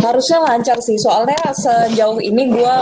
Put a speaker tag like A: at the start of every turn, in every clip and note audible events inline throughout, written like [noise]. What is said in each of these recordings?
A: harusnya lancar sih soalnya sejauh ini gue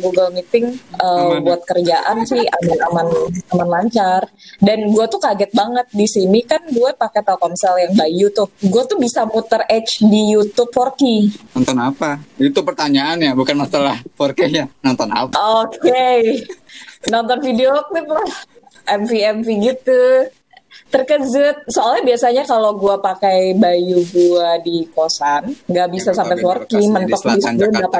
A: Google Meeting uh,
B: Aman.
A: buat kerjaan sih aman-aman aman lancar dan gue tuh kaget banget di sini kan gue pakai Telkomsel yang by YouTube gue tuh bisa muter edge di YouTube 4K
B: Nonton apa? Itu pertanyaannya, bukan masalah 4K-nya. Nonton apa?
A: oke nonton video klip lah MV MV gitu terkejut soalnya biasanya kalau gue pakai bayu gue di kosan nggak bisa
B: Yang
A: sampai
B: di
A: 4K
B: lokasi di
A: mentok di
B: selatan Jakarta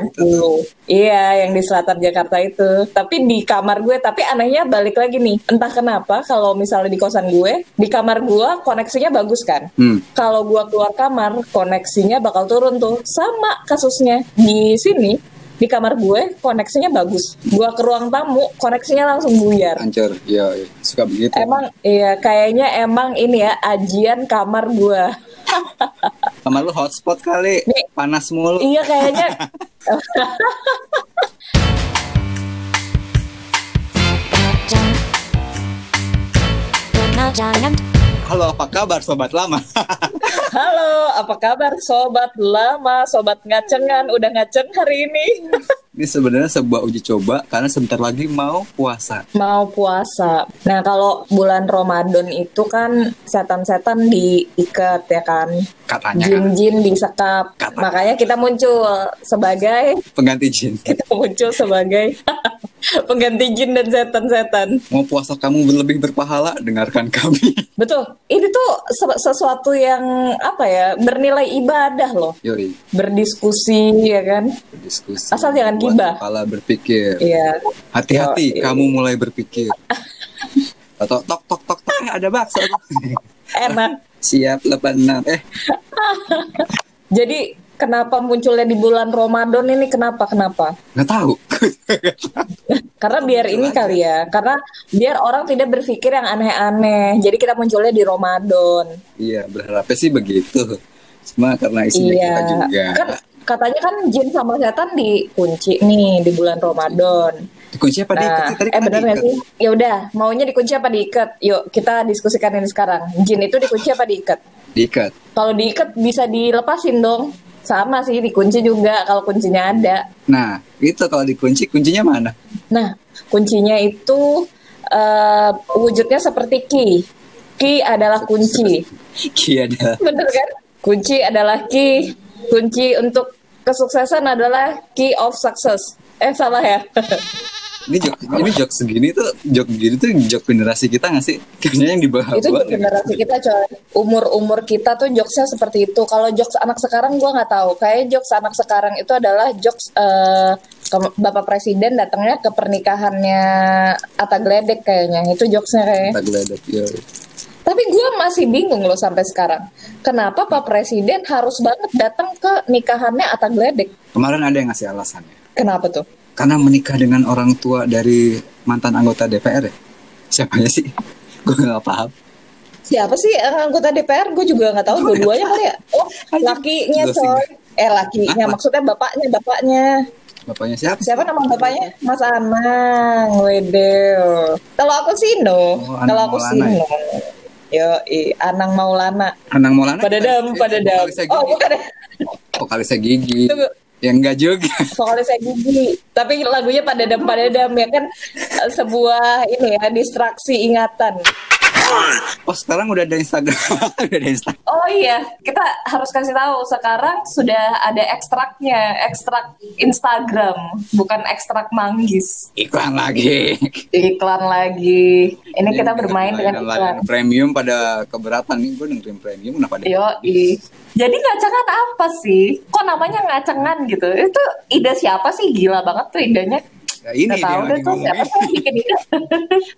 A: 1080 iya yang di selatan Jakarta itu tapi di kamar gue tapi anehnya balik lagi nih entah kenapa kalau misalnya di kosan gue di kamar gue koneksinya bagus kan
B: Hmm.
A: kalau gua keluar kamar koneksinya bakal turun tuh sama kasusnya di sini di kamar gue koneksinya bagus gua ke ruang tamu koneksinya langsung buyar
B: Hancur. Iya, iya. suka begitu.
A: emang iya kayaknya emang ini ya ajian kamar gua
B: Sama lu hotspot kali.
A: Nih.
B: Panas mulu.
A: iya kayaknya
B: Halo, apa kabar sobat lama? [laughs]
A: halo apa kabar sobat lama sobat ngacengan udah ngaceng hari ini [laughs]
B: Ini sebenarnya sebuah uji coba karena sebentar lagi mau puasa.
A: mau puasa. Nah, kalau bulan Ramadan itu kan setan-setan diikat ya kan.
B: Katanya
A: Jin-jin disekap.
B: Kata-
A: Makanya kita muncul sebagai [laughs]
B: pengganti jin.
A: kita muncul sebagai [laughs] pengganti jin dan setan-setan.
B: Mau puasa kamu lebih berpahala, dengarkan kami. [laughs]
A: Betul. Ini tuh se- sesuatu yang apa ya? bernilai ibadah loh.
B: Yori,
A: Berdiskusi ya kan.
B: diskusi.
A: Asal jangan
B: Buat
A: gibah.
B: Kepala berpikir.
A: Iya.
B: Hati-hati,
A: Yoi.
B: kamu mulai
A: [laughs]
B: berpikir. Tok tok tok tok tok ada bakso. [laughs]
A: Enak.
B: Siap lebaran. Eh,
A: Jadi kenapa munculnya di bulan Ramadan ini kenapa kenapa?
B: nggak tahu.
A: Karena biar ini kali ya, karena biar orang tidak berpikir yang aneh-aneh. Jadi kita munculnya di Ramadan.
B: [laughs] iya, berharapnya sih begitu. Cuma karena isinya
A: iya.
B: kita juga.
A: Kan katanya kan jin sama setan dikunci nih di bulan Ramadan.
B: Dikunci apa diikat sih? Tadi
A: eh
B: kata
A: benar nggak
B: diikat.
A: sih? Ya udah, maunya dikunci apa diikat? Yuk kita diskusikan ini sekarang. Jin itu dikunci apa diikat?
B: Diikat.
A: Kalau diikat bisa dilepasin dong. Sama sih dikunci juga kalau kuncinya ada.
B: Nah, itu kalau dikunci, kuncinya mana? [laughs]
A: Nah, kuncinya itu eh, wujudnya seperti ki. Ki adalah kunci.
B: Ki ada.
A: Bener kan? Kunci adalah key. Kunci untuk kesuksesan adalah key of success. Eh salah ya.
B: Ini jok, ini jok segini tuh, jok begini tuh jok generasi kita nggak sih? [laughs] Kayaknya yang di bawah
A: itu
B: gua ya.
A: jok
B: deh.
A: generasi kita coy. Umur-umur kita tuh jokesnya seperti itu. Kalau jokes anak sekarang gua nggak tahu. Kayak jokes anak sekarang itu adalah jokes eh, ke- Bapak Presiden datangnya ke pernikahannya Atta Gledek kayaknya. Itu jokesnya kayaknya.
B: Tak geledek, iya.
A: Tapi gue masih bingung loh sampai sekarang. Kenapa Pak Presiden harus banget datang ke nikahannya Atta Gledek?
B: Kemarin ada yang ngasih alasannya.
A: Kenapa tuh?
B: karena menikah dengan orang tua dari mantan anggota DPR ya siapanya sih [laughs] gue nggak paham
A: Siapa sih yang anggota DPR? Gue juga nggak tahu dua-duanya kali ya. Oh, lakinya
B: Jelasin.
A: coy. Eh lakinya,
B: Apa?
A: maksudnya bapaknya, bapaknya.
B: bapaknya siapa
A: Siapa nama bapaknya? Mas Anang, wedeo. Kalau aku Sino,
B: Oh, Anang
A: kalau aku
B: Maulana
A: Sino. Yo, Anang Maulana.
B: Anang Maulana
A: Pada dam,
B: Iya, vokalis-
A: pada dam.
B: vokalisnya
A: Oh,
B: gigi.
A: bukan ya.
B: vokalisnya gigi
A: Tunggu.
B: ya enggak juga
A: Vokalisnya gigi. Tapi lagunya pada dam, pada dam ya kan eh, sebuah ini ya distraksi ingatan.
B: oh sekarang udah ada Instagram [laughs] udah ada Instagram
A: Oh iya, kita harus kasih tahu sekarang sudah ada ekstraknya, ekstrak Instagram, bukan ekstrak manggis.
B: iklan lagi
A: Iklan lagi. Ini kita
B: Iya,
A: bermain dengan iklan.
B: layanan premium pada keberatan nih gue dengerin premium kenapa ada
A: Yo, jadi ngacangan apa sih? Kok namanya ngacangan gitu? Itu ide siapa sih? Gila banget tuh idenya.
B: Ya, ini
A: Nggak
B: dia
A: tahu deh
B: lagi
A: tuh siapa
B: ngomongin
A: sih yang bikin ide.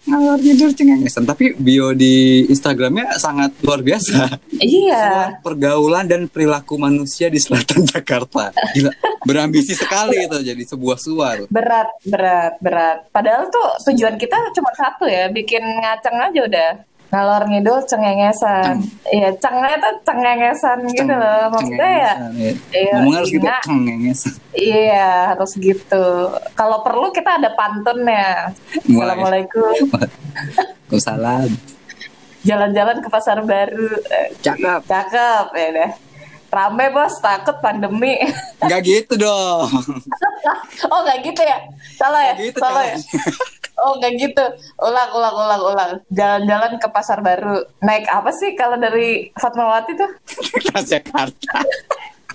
B: ngalor tidur cengengesan tapi bio di Instagramnya sangat luar biasa
A: iya.
B: pergaulan dan perilaku manusia di selatan [laughs] Jakarta. Gila, berambisi sekali itu jadi sebuah suar.
A: Berat, berat, berat. Padahal tuh tujuan kita cuma satu ya, bikin ngaceng aja udah. Ngalor ngidul cengengesan. Iya, cengnya tuh cengengesan gitu loh. Maksudnya ya, Iya,
B: Ngomongnya harus gitu,
A: iya.
B: [laughs] cengengesan.
A: iya harus gitu. Kalau perlu kita ada pantunnya.
B: Mulai.
A: Assalamualaikum.
B: Waalaikumsalam.
A: Jalan-jalan ke pasar baru. Eh,
B: Cakep.
A: Cakep, ya deh. Rame bos, takut pandemi. [laughs]
B: Nggak gitu dong. [laughs]
A: oh nggak gitu ya? Salah ya?
B: Nggak gitu
A: Salah
B: [laughs]
A: ya? Oh nggak gitu. Ulang, ulang, ulang, ulang. Jalan-jalan ke pasar baru. Naik apa sih kalau dari Fatmawati tuh?
B: Ke Jakarta.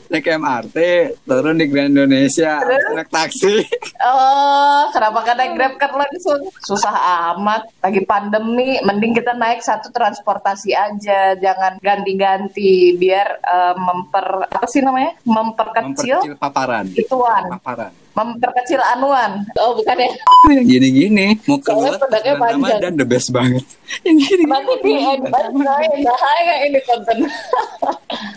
B: Naik MRT, turun di Grand Indonesia,
A: Terus?
B: naik taksi.
A: Oh, kenapa gak naik grab car langsung? Susah amat. Lagi pandemi, mending kita naik satu transportasi aja, jangan ganti-ganti biar eh, memper apa sih namanya? Memperkecil
B: Memperkecil paparan.
A: Iya. ituan,
B: Paparan.
A: memperkecil anuan. Oh, [laughs] bukan ya?
B: Itu yang gini-gini mau
A: Soalnya
B: keluar
A: produknya
B: bulan
A: panjang.
B: Ramadan the best banget. [laughs] Yang gini-gini.
A: Nanti di end bahaya, bahaya ini konten.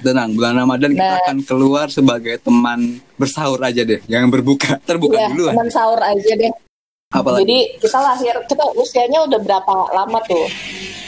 B: Tenang, bulan Ramadan kita
A: Nah.
B: akan keluar sebagai teman bersahur aja deh, jangan berbuka. Terbuka
A: ya,
B: duluan.
A: teman sahur aja deh.
B: Apalagi
A: Jadi kita lahir, kita usianya udah berapa lama tuh?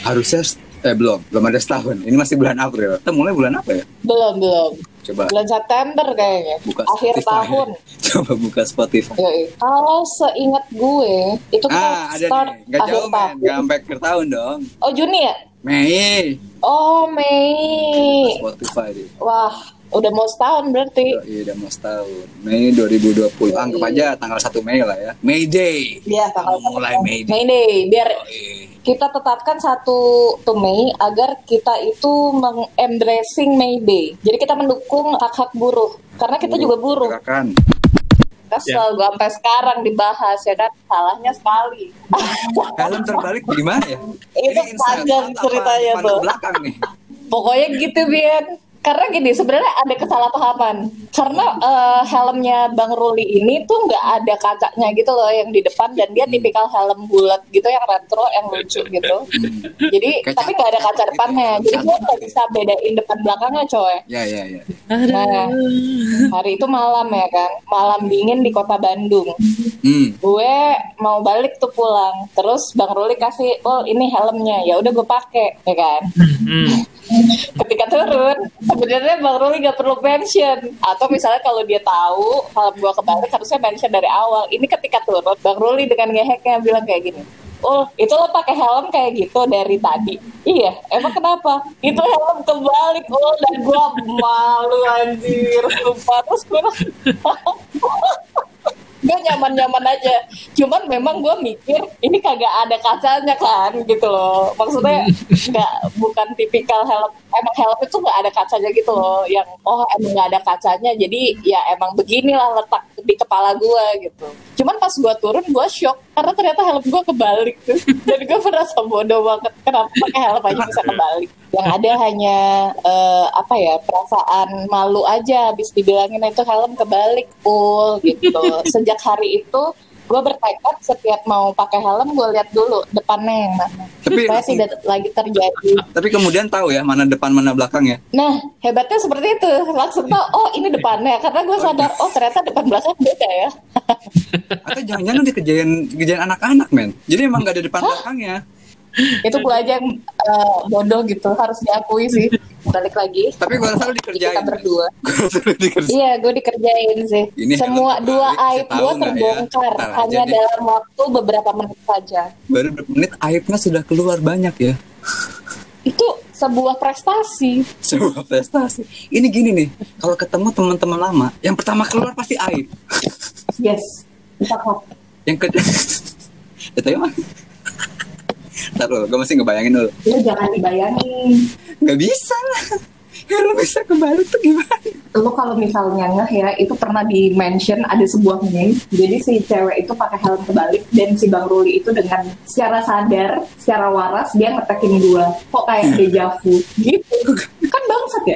B: harusnya eh belum, belum ada setahun. Ini masih bulan April. Kita mulai bulan apa ya?
A: Belum, belum.
B: Coba
A: Bulan September kayaknya.
B: buka
A: Akhir
B: Spotify.
A: tahun.
B: [laughs] Coba buka Spotify.
A: Yoi. Kalau seingat gue, itu kita
B: Ah, ada
A: start
B: nih. Gak
A: akhir
B: jauh, men.
A: tahun.
B: Gak sampai akhir tahun dong.
A: Oh Juni ya?
B: Mei.
A: Oh Mei.
B: Spotify deh.
A: Wah, udah mau setahun berarti.
B: Iya, udah mau setahun. Mei 2020. Anggap aja tanggal 1 Mei lah ya. May Day.
A: Iya, tanggal
B: Mau mulai
A: satu.
B: May Day.
A: Mei Day. Biar
B: Yoi.
A: kita tetapkan satu to Mei agar kita itu mengembracing May Day. Jadi kita mendukung hak-hak buruh. Karena kita juga buruh.
B: Silakan. Ya.
A: Kesel gue sampai sekarang dibahas ya kan. Salahnya sekali.
B: Helm terbalik gimana ya?
A: Itu
B: Ini insert
A: panjang
B: apa-
A: ceritanya
B: pandang
A: tuh.
B: belakang nih.
A: Pokoknya gitu Bian. Karena gini sebenarnya ada kesalahpahaman. Karena eh, helmnya Bang Ruli ini tuh nggak ada kacanya gitu loh yang di depan dan
B: Hmm.
A: dia tipikal helm bulat gitu yang retro yang lucu
B: [laughs]
A: gitu.
B: Hmm.
A: Jadi
B: Kayak
A: tapi
B: cat-
A: nggak ada
B: cat
A: kaca
B: gitu
A: depannya.
B: ya,
A: Jadi
B: cat
A: gue nggak
B: gitu ya.
A: bisa bedain depan belakangnya coy.
B: Ya, ya, ya.
A: Nah hari itu malam ya kan, malam dingin di kota Bandung.
B: Hmm.
A: Gue mau balik tuh pulang. Terus Bang Ruli kasih, oh ini helmnya. Ya udah gue pakai, ya kan. [laughs] ketika turun sebenarnya bang Ruli nggak perlu mention atau misalnya kalau dia tahu kalau gua kebalik harusnya mention dari awal ini ketika turun bang Ruli dengan ngeheknya bilang kayak gini Oh, itu lo pakai helm kayak gitu dari tadi. Iya, emang kenapa? Itu helm kebalik. Oh, dan gua malu anjir. Sumpah. Terus gue gue nyaman-nyaman aja cuman memang gue mikir ini kagak ada kacanya kan gitu loh maksudnya nggak bukan tipikal helm emang helm itu nggak ada kacanya gitu loh yang oh emang nggak ada kacanya jadi ya emang beginilah letak di kepala gue gitu cuman pas gue turun gue shock karena ternyata helm gue kebalik tuh dan gue merasa bodoh banget kenapa pakai helm aja bisa kebalik yang ada hanya eh, apa ya perasaan malu aja habis dibilangin itu helm kebalik pul gitu sejak hari itu gue bertekad setiap mau pakai helm gue lihat dulu depannya yang mana
B: Tapi-
A: saya tidak lagi terjadi
B: Tapi kemudian tahu ya mana depan mana belakang ya.
A: nah hebatnya seperti itu langsung tau oh ini depannya karena gue sadar oh ternyata depan belakang beda ya
B: Atau jangan-jangan di kejadian kejadian anak-anak men. Jadi emang nggak ada depan belakangnya.
A: itu gue aja yang eh, bodoh gitu harus diakui sih balik lagi
B: Tapi gua rasa
A: Jadi
B: lu dikerjain.
A: kita Iya, berdua
B: men. Gua rasa lu dikerjain.
A: Iya, gue dikerjain sih.
B: Ini
A: Semua
B: helm
A: dua
B: kebalik,
A: aib
B: saya tahu
A: gue
B: nggak ya?
A: terbongkar
B: Ntar aja
A: hanya
B: deh.
A: dalam waktu beberapa menit saja.
B: Baru beberapa menit aibnya sudah keluar banyak ya.
A: Itu sebuah prestasi.
B: Sebuah prestasi. Ini gini nih, kalau ketemu teman-teman lama, yang pertama keluar pasti aib.
A: Yes. Cakep.
B: Yang kedua, [laughs] itu emang. [laughs] Ntar dulu, gue masih ngebayangin dulu.
A: Lu jangan dibayangin.
B: Gak bisa lah. Ya lu bisa kebalik tuh gimana?
A: Lu kalau misalnya ngeh ya, itu pernah di mention ada sebuah meme. Jadi si cewek itu pakai helm kebalik dan si Bang Ruli itu dengan secara sadar, secara waras dia ngetekin gue. Kok
B: Hmm.
A: kayak deja vu gitu.
B: [laughs]
A: Kan bangsat ya.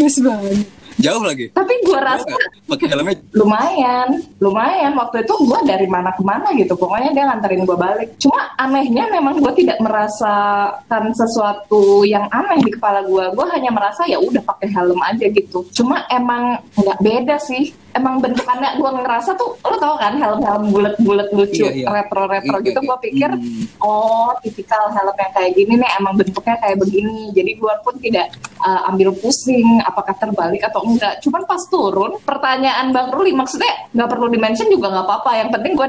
B: Mes banget. Jauh lagi.
A: Tapi gue
B: Jauh
A: rasa
B: nggak? Pakai helmnya
A: lumayan lumayan waktu itu gue dari mana ke mana gitu pokoknya dia nganterin gue balik cuma anehnya memang gue tidak merasakan sesuatu yang aneh di kepala gue gue hanya merasa ya udah pakai helm aja gitu cuma emang nggak beda sih emang bentukannya gue ngerasa tuh lo tau kan helm-helm bulat-bulat lucu
B: Iya, iya.
A: retro-retro
B: Iya,
A: gitu
B: iya.
A: gue pikir
B: Hmm.
A: oh tipikal helm yang kayak gini nih emang bentuknya kayak begini jadi gue pun tidak uh, ambil pusing apakah terbalik atau enggak cuman pas turun pertanyaan bang Ruli maksudnya nggak perlu dimention juga nggak apa-apa yang penting gue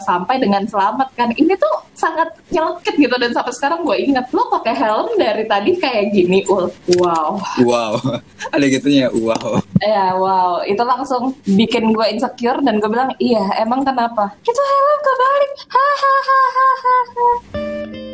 A: sampai dengan selamat kan ini tuh sangat nyelekit gitu dan sampai sekarang gue ingat lo pakai helm dari tadi kayak gini ul wow
B: Wow, [laughs] ada gitunya. Wow.
A: Ya wow, itu langsung bikin gue insecure dan gue bilang iya emang kenapa? Itu helm kebalik, hahaha.